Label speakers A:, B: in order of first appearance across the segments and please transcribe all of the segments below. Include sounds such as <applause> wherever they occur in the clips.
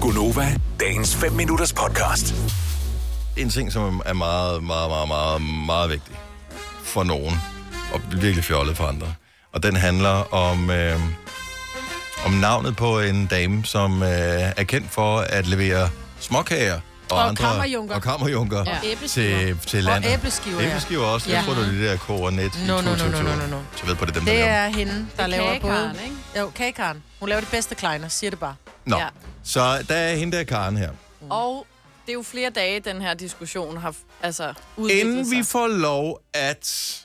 A: Gunova, dagens 5 minutters podcast.
B: en ting, som er meget, meget, meget, meget, meget vigtig for nogen, og virkelig fjollet for andre. Og den handler om, øh, om navnet på en dame, som øh, er kendt for at levere småkager og,
C: Og
B: andre,
C: kammerjunker.
B: Og kammerjunker
C: Ja.
B: til, til landet.
C: æbleskiver, ja.
B: æbleskiver også. Ja.
C: Ja.
B: Jeg tror, det er det der koronet i
C: No, no, no, no, no, no, no.
B: 2022. Så ved på det er dem, der
C: Det
B: laver
C: er hende, der
D: Det er
C: laver
D: kagekaren,
C: både...
D: ikke?
C: Jo, kagekaren. Hun laver det bedste kleiner, siger det bare. Mm.
B: Nå,
D: Ja.
B: så der er hende der Karen her.
D: Og det er jo flere dage, den her diskussion har altså, udviklet
B: Inden vi
D: sig.
B: får lov at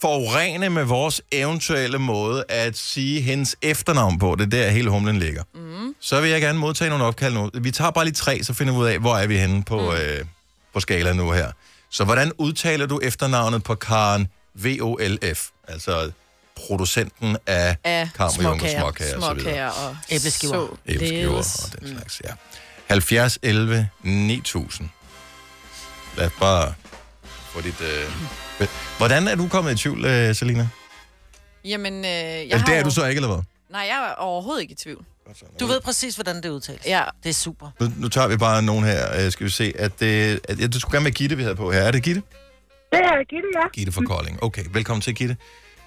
B: forurene med vores eventuelle måde at sige hendes efternavn på, det er der hele humlen ligger,
D: Mhm.
B: mm. så vil jeg gerne modtage nogle opkald nu. Vi tager bare lige tre, så finder vi ud af, hvor er vi henne på, mm. øh, på skala nu her. Så hvordan udtaler du efternavnet på Karen VOLF? Altså producenten af,
D: Af
B: Kammerjunker,
C: småkager.
B: småkager, og så videre.
D: småkager og
C: Æbleskiver.
D: så
B: Æbleskiver
D: ledes.
B: og den slags, ja. 70, 11, 9000. Lad os bare få dit... Øh... Hvordan er du kommet i tvivl, øh, Selina?
D: Jamen, øh, jeg
B: Eller
D: har
B: det er
D: jo-
B: du så ikke, eller hvad?
D: Nej, jeg er overhovedet ikke i tvivl.
C: Du ved præcis, hvordan det udtales.
D: Ja.
C: Det er super.
B: Nu, nu tager vi bare nogen her. Øh, skal vi se, at det... At, ja, du skulle gerne være Gitte, vi havde på her. Er det Gitte?
E: Det er Gitte, ja.
B: Gitte
D: Mm.
B: fra Kolding. Okay, velkommen til, Gitte.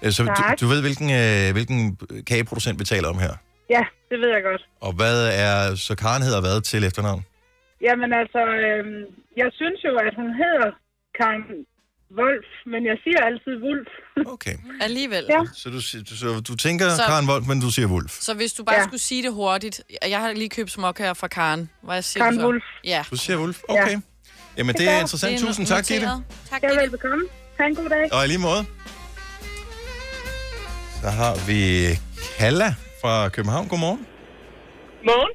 B: Øh, Så
E: Tak.
B: du, du ved, hvilken, øh, hvilken kageproducent vi taler om her.
E: Ja, det ved jeg godt.
B: Og hvad er... Så Karen hedder hvad til efternavn?
E: Jamen altså, øhm, jeg synes jo, at hun hedder Karen Wolf, men jeg siger altid
D: <laughs>
E: Wolf.
B: Okay.
D: Alligevel.
E: Ja.
B: Så du, si- du- så du tænker
D: Så-
B: Karen Wolf, men du siger Wolf.
D: Så hvis du bare ja.
E: Ja.
D: skulle sige det hurtigt. Jeg har lige købt småkager fra Karen. Hvad siger du
E: Karen
D: så?
E: Wolf.
D: Ja.
B: Du siger Ulf. Okay. Ja. Jamen, det er interessant.
D: Det er
B: Tusind tak, Gitte.
D: noteret. Tak,
E: Jeg er
D: Gitte.
E: velbekomme. Ha' en god dag.
B: Og i lige måde. Så har vi Kalla fra København. Godmorgen.
F: Morgen.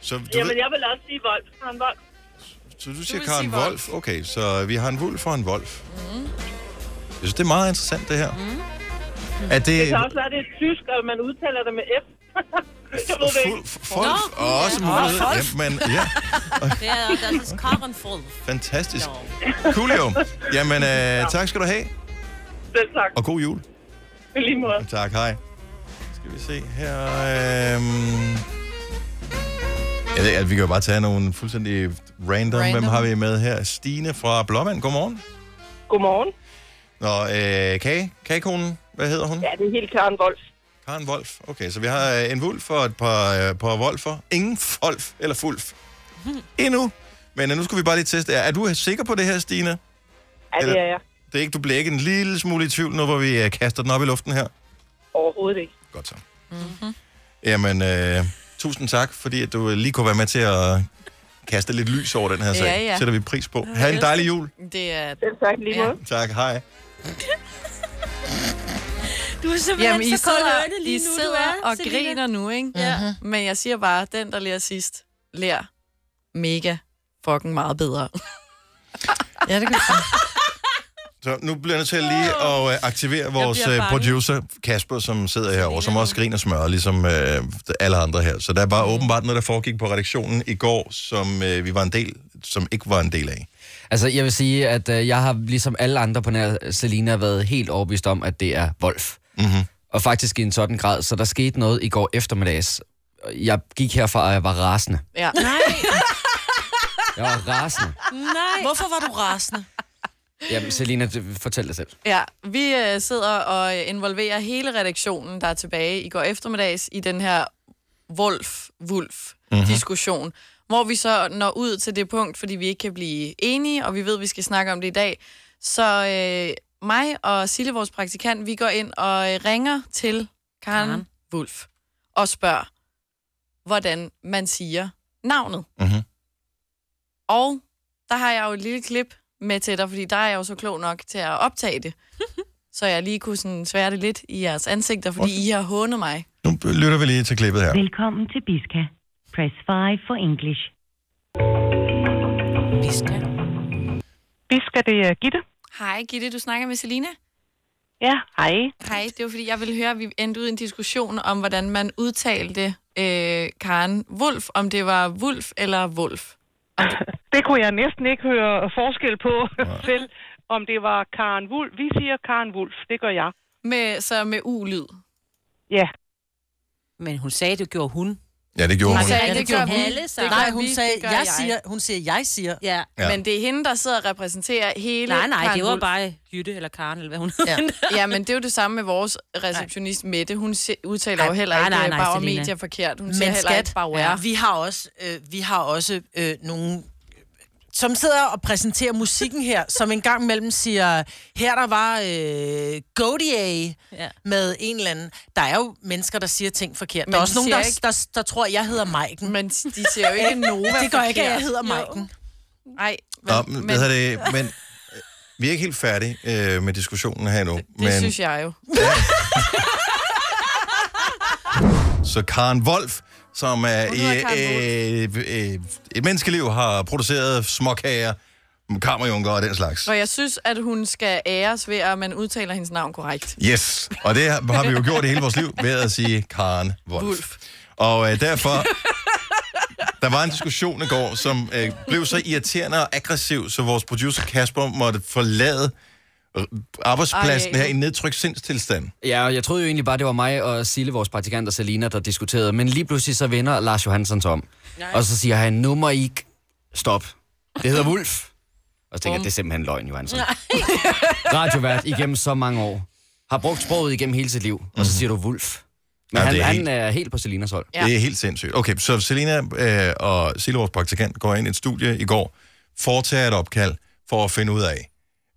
B: Så du,
F: Jamen,
B: ved,
F: jeg vil også sige Wolf. Han Wolf.
B: så du siger
D: vil
B: Karen
D: sige
B: Wolf.
D: Wolf.
B: Okay, så vi har en Wolf og en Wolf. Mm. Jeg synes, det er meget interessant, det her. Mm. Er det...
F: Det kan også være, det er tysk, og man udtaler det med F. jeg ved det ikke.
B: Fuld, folk og også en mulighed. Jamen, ja,
G: Det er deres Karrenfuld.
B: fantastisk. Coolio. Jamen, øh, tak skal du have,
F: Selv tak.
B: og god jul.
F: I lige måde.
B: Tak, hej. Skal vi se her... Øhm... Jeg ved, at vi kan jo bare tage nogle fuldstændig random. random.
D: Random.
B: Hvem har vi med her? Stine fra Blåvand. Godmorgen.
F: Godmorgen.
B: Nå, øh, kage. Kagekonen. Hvad hedder hun?
F: Ja, det er helt Karen Wolf.
B: Karen Wolf. Okay, så vi har øh, en Wulf og et par, øh, par Wolfer. Ingen Folf eller Fulf. Endnu. Men øh, nu skal vi bare lige teste. Er er du sikker på det her, Stine?
F: Ja, det er jeg.
B: Det er ikke, du bliver ikke en lille smule i tvivl nu, hvor vi øh, kaster den op i luften her?
F: Overhovedet ikke.
B: Godt så. Mm-hmm. Jamen, øh, tusind tak, fordi at du lige kunne være med til at kaste lidt lys over den her sag.
D: Ja, ja.
B: Sætter vi pris på. Ha' en dejlig jul.
D: Det er...
F: Selv tak, i lige
D: Ja.
F: måde.
B: Tak, hej.
G: Du er simpelthen
D: Jamen, I
G: så kold
D: sidder,
G: ørne
D: I
G: lige nu, du
D: sidder
G: er,
D: og
G: Selina.
D: griner nu, ikke?
G: Ja.
C: Mm-hmm.
D: Men jeg siger bare, den, der lærer sidst, lærer mega fucking meget bedre.
C: Ja, det kan du sige.
B: Så nu bliver jeg nødt til lige at øh, aktivere vores
G: bliver
B: øh,
G: bange.
B: producer, Kasper, som sidder herovre, som også griner smør, ligesom øh, alle andre her. Så der er
D: Mm.
B: bare åbenbart noget, der foregik på redaktionen i går, som øh, vi var en del, som ikke var en del af.
H: Altså, jeg vil sige, at øh, jeg har ligesom alle andre på nær Selina været helt overbevist om, at det er Wolf.
B: Mm-hmm.
H: Og faktisk i en sådan grad, så der skete noget i går eftermiddags. Jeg gik herfra, og jeg var rasende.
D: Ja.
G: <laughs> Nej,
H: Jeg var rasende.
G: nej.
C: Hvorfor var du rasende?
H: Jamen, Selina, det- fortæl dig selv.
D: Ja, vi øh, sidder og øh, involverer hele redaktionen, der er tilbage i går eftermiddags, i den her Wolf-Wulf-diskussion, hvor vi så når ud til det punkt, fordi vi ikke kan blive enige, og vi ved, at vi skal snakke om det i dag. Så øh, mig og Sille, vores praktikant, vi går ind og øh, ringer til Karen, Karen.
G: Karen.
D: Wolf og spørger, hvordan man siger navnet.
B: Mm-hmm.
D: Og der har jeg jo et lille klip med til dig, fordi der er jeg jo så klog nok til at optage det. så jeg lige kunne sådan svære det lidt i jeres ansigter, fordi I har hånet mig.
B: Nu lytter vi lige til klippet her.
I: Velkommen til Biska. Press 5 for English.
G: Biska.
F: Vi skal det uh, Gitte.
D: Hej Gitte, du snakker med Selina.
F: Ja, hej.
D: Hej, det var fordi, jeg ville høre, at vi endte ud i en diskussion om, hvordan man udtalte øh, Karen Wolf, om det var Wolf eller Wolf.
F: Det kunne jeg næsten ikke høre forskel på, <laughs> vel, om det var Karen Wolf. Vi siger Karen Wolf, det gør jeg.
D: Med, så med u-lyd.
F: Ja,
G: Men hun sagde, det gjorde hun.
B: Ja, det gjorde
D: Hun
B: hun.
D: sagde,
C: Ja,
D: ikke,
C: det
D: Altså, det
C: gør
D: gør
C: vi.
D: hun.
G: Alle sammen.
D: Det gør
C: Nej, hun
D: vi, det
C: sagde,
D: gør
C: jeg, siger, hun siger, jeg siger.
G: Ja.
B: Ja.
D: Men det er hende, der sidder og repræsenterer hele
G: Nej, nej,
D: Karen
G: det var
D: Wulff.
G: bare Jytte eller Karen, eller hvad hun hedder.
D: <laughs> Ja, men det er jo det samme med vores receptionist Mette. Hun se, udtaler jo
G: Ej,
D: heller
G: nej,
D: ikke
G: nej,
D: nej,
G: nej,
D: nej, bare
G: Selina.
D: medier forkert. Hun siger
C: Men
D: heller
C: skat,
D: ikke bare
C: ja.
D: ja.
C: vi har også, øh, vi har også øh, nogle som sidder og præsenterer musikken her, som en gang imellem siger, her der var øh,
G: <laughs>
C: Godier
G: Ja.
C: ja. med en eller anden. Der er jo mennesker, der siger ting forkert. Men
D: Men
C: der er også nogen,
D: siger
C: der,
D: ikke-
C: der, der, der tror, jeg hedder Maiken.
D: Men de ser <laughs> jo ikke Nova
C: det gør ikke, at jeg
D: forkert.
C: hedder Maiken.
D: Nej,
B: Nå, men, hvad hedder det? Men øh, vi er ikke helt færdige øh, med diskussionen her nu.
D: det
B: men,
D: synes jeg jo.
B: Så Karen Wolf, som er
D: Hun
B: i
D: hedder Karen
B: øh, øh, et menneskeliv, har produceret småkager, kammerjunker og den slags.
D: Og jeg synes, at hun skal æres ved, at man udtaler hendes navn korrekt.
B: Yes, og det har har vi jo gjort i hele vores liv ved at sige Karen Wolf. Wolf. Og øh, derfor, der var en diskussion i går, som øh, blev så irriterende og aggressiv, så vores producer Kasper måtte forlade øh, arbejdspladsen
D: Ej.
B: her i nedtrykt sindstilstand.
H: Ja, og jeg troede jo egentlig bare, det var mig og Sille, vores praktikant og Selina, der diskuterede. Men lige pludselig så vender Lars Johansson sig om. Nej. Og så siger han, nu må I ikke stoppe. Det hedder Wolf. Og så tænker jeg, det er simpelthen løgn, Johansson. <laughs> Radiovært igennem så mange år. Har brugt sproget igennem hele sit liv. Og så siger du Wolf. Men
B: Ja, det
H: ja, han,
B: er
H: er,
B: helt-
H: han er helt på Selinas hold.
B: Ja.
D: Ja.
B: Det er helt sindssygt. Okay, så Selina øh, og Sille, vores praktikant, går ind i et studie i går, foretager et opkald for at finde ud af,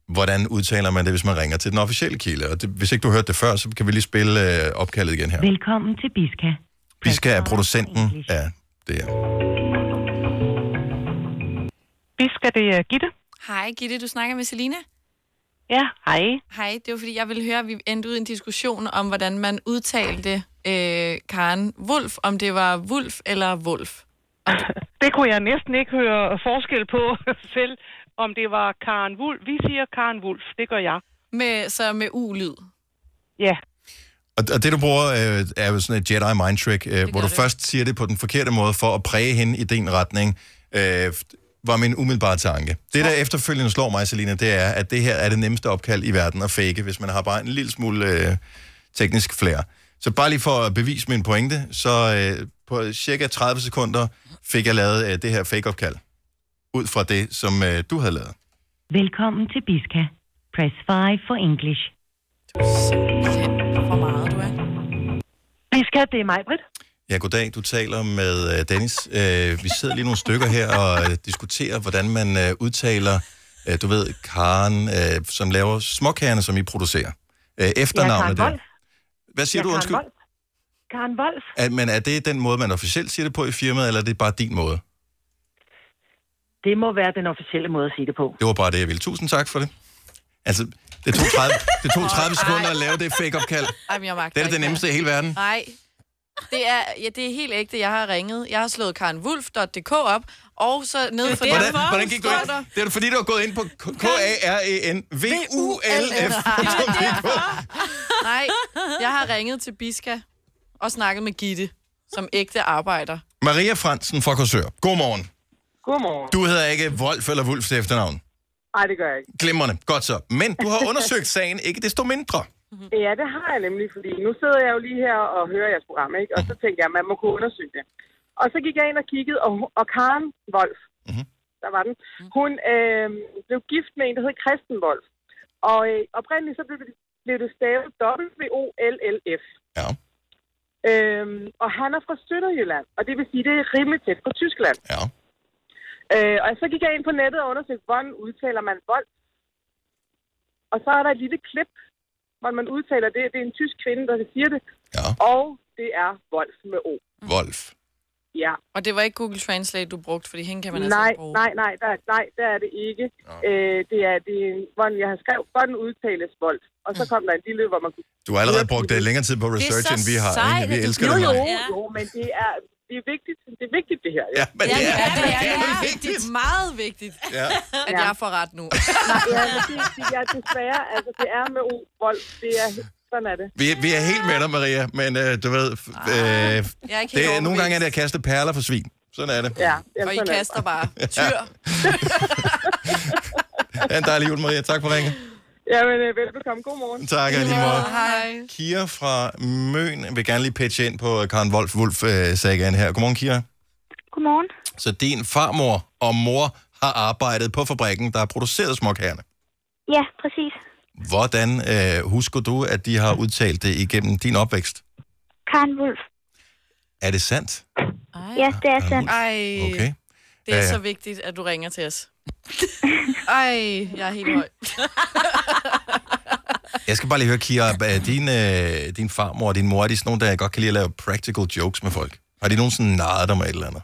B: hvordan udtaler man det, hvis man ringer til den officielle kilde. Og det, hvis ikke du hørte det før, så kan vi lige spille øh, opkaldet igen her.
I: Velkommen til Biska.
B: Biska er producenten af det her.
F: Bisker, det er Gitte.
D: Hej Gitte, du snakker med Selina.
F: Ja, hej.
D: Hej, det var fordi, jeg ville høre, at vi endte ud i en diskussion om, hvordan man udtalte øh, Karen Wolf, om det var Wolf eller Wolf.
F: Det kunne jeg næsten ikke høre forskel på <laughs> selv, om det var Karen Wulf. Vi siger Karen Wulf, det gør jeg.
D: Med, så med ulyd.
F: Ja,
B: Og, og det, du bruger, øh, er jo sådan et Jedi mind trick, øh, hvor du det. først siger det på den forkerte måde for at præge hende i din retning, øh, var min umiddelbare tanke. Det, der efterfølgende slår mig, Selina, det er, at det her er det nemmeste opkald i verden at fake, hvis man har bare en lille smule øh, teknisk flere. Så bare lige for at bevise min pointe, så øh, på cirka 30 sekunder fik jeg lavet øh, det her fake-opkald, ud fra det, som øh, du havde lavet.
I: Velkommen til Biska. Press 5 for English.
D: For meget du er.
E: Vi skal, det er mig, Britt.
B: Ja, goddag. Du taler med øh, Dennis. Øh, vi sidder lige nogle stykker her og øh, diskuterer, hvordan man øh, udtaler, øh, du ved, Karen, øh, som laver småkagerne, som I producerer. Øh, efternavnet der. Hvad siger du, undskyld?
E: Karen Wolf.
B: Er, men er det den måde, man officielt siger det på i firmaet, eller er det bare din måde?
E: Det må være den officielle måde at sige det på.
B: Det var bare det, jeg ville. Tusind tak for det. Altså, det tog 30, det tog 30 sekunder at lave det fake-opkald.
D: Ej, men jeg magter
B: Det er det
D: ikke
B: nemmeste i hele verden.
D: Nej. Det er, ja, det er helt ægte. Jeg har ringet. Jeg har slået karenwulf.dk op, og så nede for
B: Hvordan, hvordan gik du ind? Det er fordi, du har gået ind på E K-A-R-E-N-V-U-L-F.
D: Nej, jeg har ringet til Biska og snakket med Gitte, som ægte arbejder.
B: Maria Fransen fra Korsør. Godmorgen.
E: Godmorgen.
B: Du hedder ikke Wolf eller Wulf til efternavn.
E: Nej, det gør jeg ikke.
B: Glimrende. Godt så. Men du har <laughs> undersøgt sagen, ikke desto mindre.
E: Mm. Ja, det har jeg nemlig, fordi nu sidder jeg jo lige her og hører jeres program, ikke? Og så tænkte jeg, at man må kunne undersøge det. Og så gik jeg ind og kiggede, og, og Karen Wolf,
B: Mhm.
E: mm-hmm. der var den, hun øh, blev gift med en, der hed Kristen Wolf. Og øh, oprindeligt så blev det, blev det stavet W-O-L-L-F.
B: Ja.
E: Øhm, og han er fra Sønderjylland, og det vil sige, det er rimelig tæt på Tyskland.
B: Ja.
E: Øh, og så gik jeg ind på nettet og undersøgte, hvordan udtaler man vold. Og så er der et lille klip, hvor man udtaler det. Det er en tysk kvinde, der siger det.
B: Ja.
E: Og det er vold med O.
B: Wolf.
E: Ja.
D: Og det var ikke Google Translate, du brugte, fordi hende kan man altså
E: nej,
D: ikke bruge.
E: nej, nej, der, nej, der er det ikke. Øh, det er, det er en- hvordan jeg har skrevet, hvordan udtales vold. Og
B: Mm.
E: så kom der en lille, hvor man kunne...
B: Du har allerede brugt øh, længere tid på research, end vi har. ikke? Vi elsker
E: Jo,
B: det.
E: jo,
B: Maria.
G: Ja.
E: jo, men det er, det er vigtigt, det er vigtigt det her.
B: Ja, men det er,
D: Ja, det er, det
B: det
D: er
B: vigtigt.
D: vigtigt. Meget vigtigt,
B: Ja.
D: at
E: Ja.
D: jeg får ret nu.
E: ja men det, det er desværre, altså det er med O, vold. Det er, sådan er det.
B: Vi, vi er helt med dig, Maria, men øh, du ved, f- øh,
D: Jeg er ikke
B: det,
D: helt
B: er- nogle gange er
D: overbevist.
B: det at kaste perler for svin. Sådan er det.
E: Ja,
D: Og I
E: sådan er det.
D: kaster bare tyr.
B: Ha' en dejlig jul, Maria. Tak for ringen.
E: Jamen, øh, velbekomme. God morgen.
B: Tak, og i lige måde.
D: Hej.
B: Kira fra Møn vil gerne lige pitche ind på øh, Karen Wolf Wolf øh, sagen her. Godmorgen, Kira.
J: Godmorgen.
B: Så din farmor og mor har arbejdet på fabrikken, der har produceret småkagerne.
J: Ja, præcis.
B: Hvordan øh, husker du, at de har udtalt det igennem din opvækst?
J: Karen Wolf.
B: Er det sandt?
J: Ja, det er sandt.
D: Ej,
B: Okay.
D: det er
B: Øh,
D: så vigtigt, at du ringer til os. Ej, jeg er helt høj.
B: Jeg skal bare lige høre, Kira, er din, øh, din farmor og din mor, er de sådan nogle, der godt kan lide at lave practical jokes med folk? Har de nogensinde narret dig med et eller andet?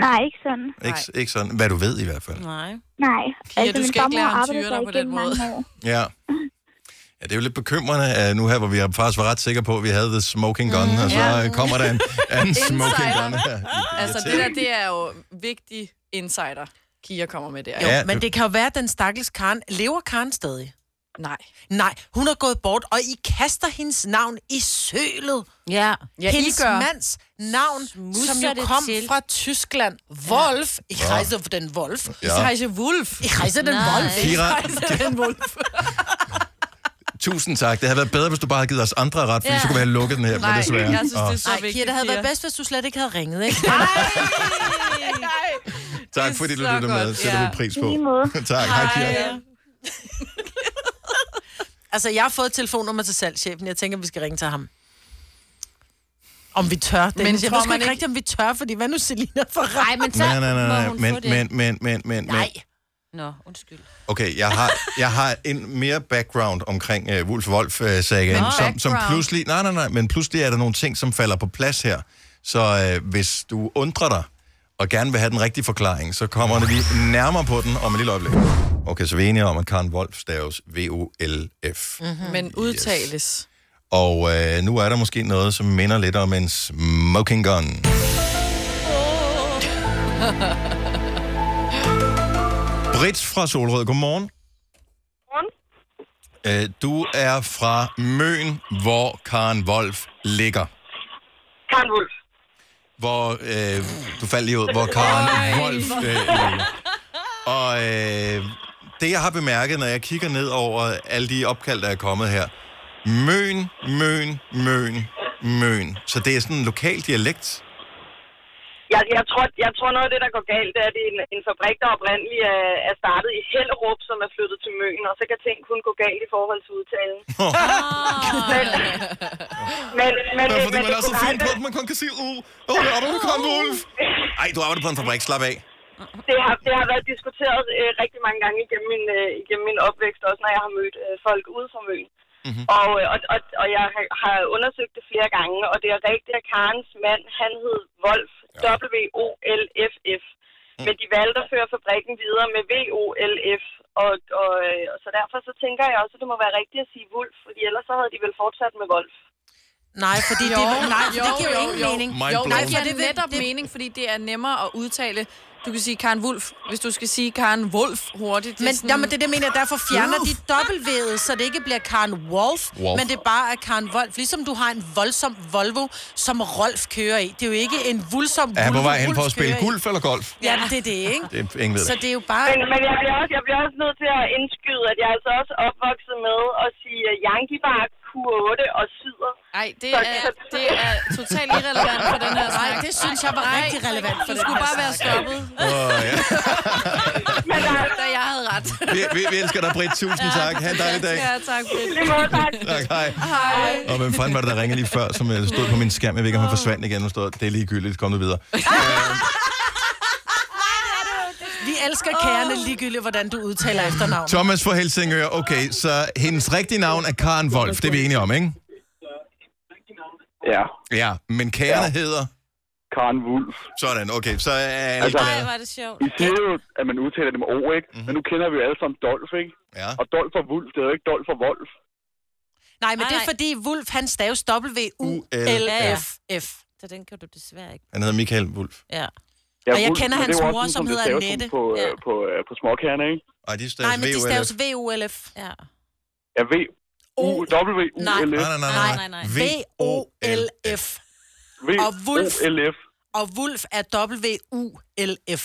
J: Nej, ikke sådan.
B: Ikke, ikke sådan, hvad du ved i hvert fald.
G: Nej.
J: Nej. Altså,
D: Pia, du skal ikke
J: farmor
D: lære ham
J: arbejdede
D: tyre dig
J: der
D: på den
J: igennem
D: måde.
J: mange år.
B: Ja. Ja, det er jo lidt bekymrende at nu her, hvor vi faktisk var ret sikre på, at vi havde the smoking gun, mm, og så
D: Mhm. Ja.
B: øh, kommer der en anden smoking
D: Insider.
B: gun her.
D: Altså, det der, det er jo vigtig insider, Kia kommer med der.
C: Jo,
D: Jo.
B: Ja,
C: ja, men
B: du-
C: det kan jo være, at den stakkels Karen... Lever Karen stadig?
D: Nej.
C: Nej, hun er gået bort, og I kaster hendes navn i sølet.
G: Ja.
D: Ja, I
C: hendes
D: gør.
C: mands navn,
G: Smusser
C: som jo
G: det
C: kom
G: til.
C: fra Tyskland. Wolf. Ich heiße den Wolf.
B: Ja.
D: Så hejse Wolf.
C: Ich heiße den
G: Nej.
C: Wolf.
D: <laughs>
B: Kira,
E: <laughs>
D: Den Wolf.
B: tusind tak. Det havde været bedre, hvis du bare havde givet os andre ret, fordi
G: Ja.
B: så kunne vi have lukket den her, men
D: Nej,
B: desværre.
D: jeg synes, det er
B: Åh,
D: så
C: Nej,
D: vigtigt.
C: Kira, det havde været
D: Pia.
C: bedst, hvis du slet ikke havde ringet, ikke?
B: tak fordi du
D: så
B: lyttede med.
D: godt.
B: Sætter
D: Ja.
B: vi pris
J: Lige
B: på.
J: måde.
B: <laughs> tak, hej Kira.
C: Altså, jeg har fået et telefonnummer til salgschefen. Jeg tænker, vi skal ringe til ham. Om vi tør. Det. Men jeg tror man ikke rigtigt, om vi tør, fordi hvad nu, Selina, for ret?
G: Nej, men så
B: Nej, nej, nej,
G: må
B: nej.
G: hun få
B: Men,
G: det.
B: men, men, men, men, men.
C: Nej.
G: Nå, undskyld.
B: Okay, jeg har, jeg har en mere background omkring uh, Wolf wolf uh, sagen
D: Nå.
B: som, som
D: Background.
B: pludselig... Nej, nej, nej, men pludselig er der nogle ting, som falder på plads her. Så uh, hvis du undrer dig og gerne vil have den rigtige forklaring, så kommer vi nærmere på den om et lille øjeblik. Okay, så vi er enige om, at Karen Wolf staves V-O-L-F. Mm.
C: Hmm.
D: Men udtales.
B: Og øh, nu er der måske noget, som minder lidt om en smoking gun. Britt fra Solrød, godmorgen.
E: Godmorgen.
B: Øh, du er fra Møn, hvor Karen Wolf ligger.
E: Karen Wolf.
B: Hvor, øh, du faldt lige ud, hvor Karen Wolf øh, ligger. Og øh, det, jeg har bemærket, når jeg kigger ned over alle de opkald, der er kommet her. Møn, Møn, Møn, Møn. Så det er sådan en lokal dialekt.
E: Jeg, jeg, tror, jeg tror, noget af det, der går galt, det er, at det er en, en fabrik, der oprindeligt er, er startet i Hellerup, som er flyttet til Møn, og så kan ting kun gå galt i forhold til udtalen. men, men, men,
B: Ja, fordi
E: men,
B: man er så
E: kunne
B: fin på,
E: aldrig-
B: at man kun kan sige, uh, uh, jeg arbejder på Karen Wolf. Ej, du arbejder på en fabrik, slap af.
E: det, har, det har været diskuteret øh, rigtig mange gange igennem min, øh, igennem min opvækst, også når jeg har mødt øh, folk ude fra Møn. Mm-hmm. Og, øh, og, og, og jeg har- har undersøgt det flere gange, og det er rigtigt, at Karens mand, han hed Wolf, ja. W-O-L-F-F. Men de valgte at føre fabrikken videre med V-O-L-F, og, og, øh, og så derfor så tænker jeg også, at det må være rigtigt at sige Wolf, fordi ellers så havde de vel fortsat med Wolf.
C: Nej, fordi det, nej, for det giver jo ingen mening.
B: Mind
D: Jo,
B: blown.
D: det giver
C: Nej, for det
D: det
C: vil-
D: netop
C: det-
D: mening, fordi det er nemmere at udtale. Du kan sige Karen Wolf, hvis du skal sige Karen Wolf hurtigt. Det er
C: Men,
D: sådan-
C: jamen, det er det, jeg mener jeg. Derfor fjerner
D: Wolf.
C: de dobbeltvedet, så det ikke bliver Karen Wolf,
B: Wolf.
C: Wolf, men det er bare er Karen Wolf. Ligesom du har en voldsom Volvo, som Rolf kører i. Det er jo ikke en voldsom
B: Er han på vej hen for
C: Wolf
B: at spille
C: kører i.
B: golf eller golf?
C: Ja, det er det, ikke?
B: Det er ingen ved
C: Så
B: det.
C: det er jo bare...
E: Men, men jeg, bliver også, jeg bliver også nødt til at indskyde, at jeg er altså også opvokset med at sige øh, Yankee Bar, Q8 og Syder.
D: Ej, det er, det er totalt irrelevant for den her snak.
C: Nej, det synes jeg var rigtig relevant
D: Du
C: for den
D: skulle
C: her
D: bare være
C: snak.
D: stoppet,
B: Åh, ja.
E: Men der er
D: da jeg havde ret.
B: vi, vi, vi elsker dig, Britt. Tusind tak. Ha' en dejlig dag.
D: Ja, tak, Britt.
E: lige måde, tak.
B: Tak, hej. Hej. Og hvem fanden var det, der ringede lige før, som øh, stod på min skærm? Jeg ved ikke, om han forsvandt igen. Nu stod, det er ligegyldigt. Kom nu videre.
C: Vi elsker kærne ligegyldigt, hvordan du udtaler efternavn.
B: Thomas fra Helsingør. Okay, så hendes rigtige navn er Karen Wolf. Det er vi enige om, ikke?
K: Ja,
B: Ja, men kærene ja. hedder...
K: <laughs> Karen Wulf.
B: Sådan, okay. Så er
K: Altså,
G: Ej, hvor er det sjovt.
K: I siger jo, at man udtaler dem O, ikke? Men nu kender vi jo alle sammen Dolf, ikke?
B: Ja.
K: Og Dolf og Wulf, det er jo ikke Dolf og Wolf.
C: Nej, men det
G: Nej,
C: er
G: nej.
C: fordi Wolf, han staves W-U-L-F-F.
G: Så den kan du desværre ikke.
B: Han hedder Michael Wolf.
K: Ja,
G: Ja.
C: Og jeg
K: Wulff,
C: kender
K: men det er
C: hans
K: jo også
C: mor,
K: sådan,
C: som
K: det
C: hedder
K: staves
C: Annette.
K: På,
G: Ja.
K: ja. på, øh, på småkærne, ikke?
B: Ej, de staves
C: Nej, men de
B: VULF.
C: staves V-U-L-F.
G: Ja.
K: Ja, V, U,
C: O.
K: W, U,
C: Nej.
K: L, F.
B: Nej, nej, nej, nej.
G: Nej, nej, nej.
C: V-O-L-F.
K: V,
C: Og Wulff.
K: O, L, F.
C: Og Wolf er W-U-L-F.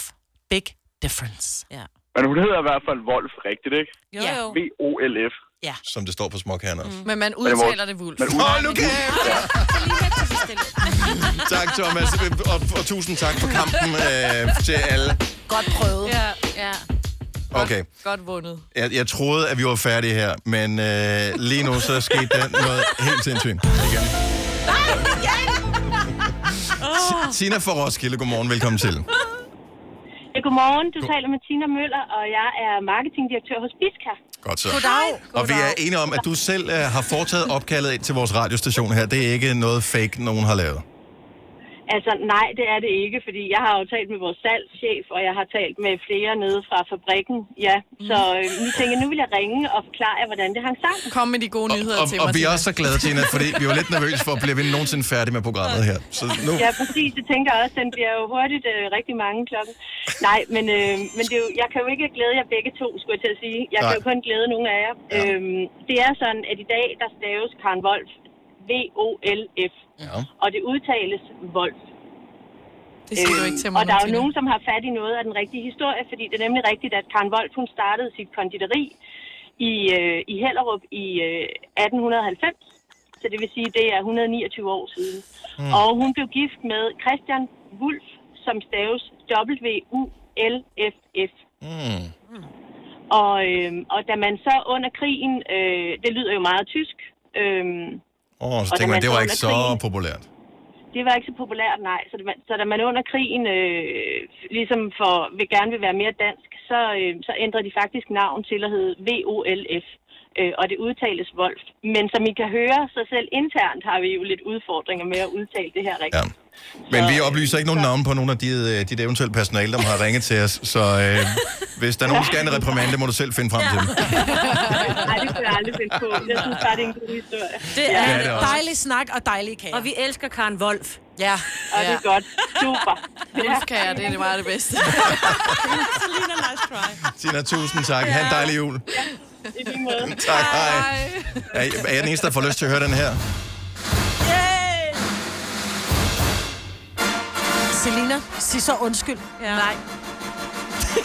C: Big difference.
G: Ja.
C: Men hun hedder i hvert fald Wolf, rigtigt, ikke?
D: Jo, jo.
C: V-O-L-F.
G: Ja.
B: Som det står på småkærne også.
D: Men man
B: Men hvor-
D: udtaler det vulf.
B: Man udtaler Åh, Lukas! Tak, Thomas, og, og tusind tak for kampen øh, til alle.
G: Godt prøvet.
D: Ja, ja.
B: Okay,
D: Godt vundet.
B: jeg, jeg troede, at vi var færdige her, men øh, lige nu så skete der noget helt sindssygt. Igen.
D: Nej, ja!
B: Oh. Tina fra Roskilde, godmorgen, velkommen til.
E: Ja, godmorgen. Du taler med Tina Møller, og jeg er marketingdirektør hos Biska.
B: Godt så.
E: Goddag.
B: Og vi er enige om, at du selv øh, har foretaget opkaldet ind til vores radiostation her. Det er ikke noget fake, nogen har lavet.
E: Altså, nej, det er det ikke, fordi jeg har jo talt med vores salgschef, og jeg har talt med flere nede fra fabrikken. Ja, så øh, nu tænker jeg, nu vil jeg ringe og forklare jer, hvordan det hang sammen.
D: Kom med de gode nyheder
B: Og, og vi er også så glade, Tina, fordi vi var lidt nervøse for, bliver vi nogensinde færdige med programmet her. Så nu...
E: Ja, præcis. Det tænker jeg også. Den bliver jo hurtigt øh, rigtig mange klokken. Nej, men, øh, men det er jo, jeg kan jo ikke glæde jer begge to, skulle jeg til at sige. Jeg Nej. kan
L: Nej.
E: jo kun glæde nogle af jer. Ja. Øhm, det er sådan, at i dag, der staves Karen Wolf. V-O-L-F.
B: Ja.
E: Og det udtales Wolf.
D: Det siger du ikke til mig
E: Og
D: nu,
E: der er jo
D: Tina.
E: nogen, som har fat i noget af den rigtige historie, fordi det er nemlig rigtigt, at Karen Wolf, hun startede sit konditori i, øh, i Hellerup i øh, 1890. Så det vil sige, det er 129 år siden. Mm.
L: Mm.
E: Og hun blev gift med Christian Wulf, som staves W-U-L-F-F.
B: Mm.
E: Og, øh, og da man så under krigen, øh, det lyder jo meget tysk, øh,
B: Åh, oh, så
E: Og da
B: tænker
E: man
B: man, det var
E: så
B: ikke
E: under
B: så
E: krigen-
B: populært.
E: det var ikke så populært, nej. Så, det, så da man under krigen øh, ligesom for, vil gerne vil være mere dansk, så, øh, så ændrede de faktisk navn til at hedde VOLF. Øh, og det udtales Wolf. Men som I kan høre, så selv internt har vi jo lidt udfordringer med at udtale det her rigtigt. Ja.
B: Men vi oplyser ikke nogen navne på nogen af de, øh, dit eventuelle personale, der har ringet til os. Så øh, hvis der er nogen, der skal have en reprimande, må du selv finde frem til dem.
E: Nej, det kunne jeg aldrig finde på. Jeg synes bare, det er en god historie.
G: Det
B: Ja, det
G: er,
B: er
G: det
B: det
G: er
B: også.
G: dejlig snak og dejlig kage. Og vi elsker Karen Wolf. Ja.
E: Og det er godt. Super.
D: Vulf kan jeg, det er det meget det bedste.
G: Selina, nice try.
B: Tina, tusind tak. Ha' en dejlig jul.
E: I lige måde.
B: Tak, hej. Er, er jeg den eneste, der får lyst til at høre den her?
G: Selina, sig så undskyld. Ja. Nej. det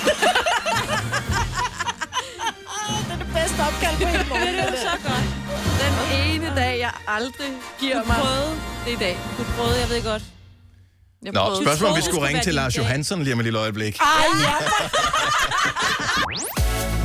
G: er det bedste opkald på hele morgen.
D: Det er jo så godt. Den ene dag, jeg aldrig giver
M: Du
D: mig...
M: prøvede.
D: det i dag.
M: Du prøvede, jeg ved godt.
D: Jeg
B: Nå,
D: prøvede.
B: spørgsmålet om vi
D: Du
B: skulle
D: troede,
B: ringe
D: det
B: til
D: skulle
B: Lars
D: være
B: Johansson lige om et lille øjeblik.
G: din dag. Ej, ja.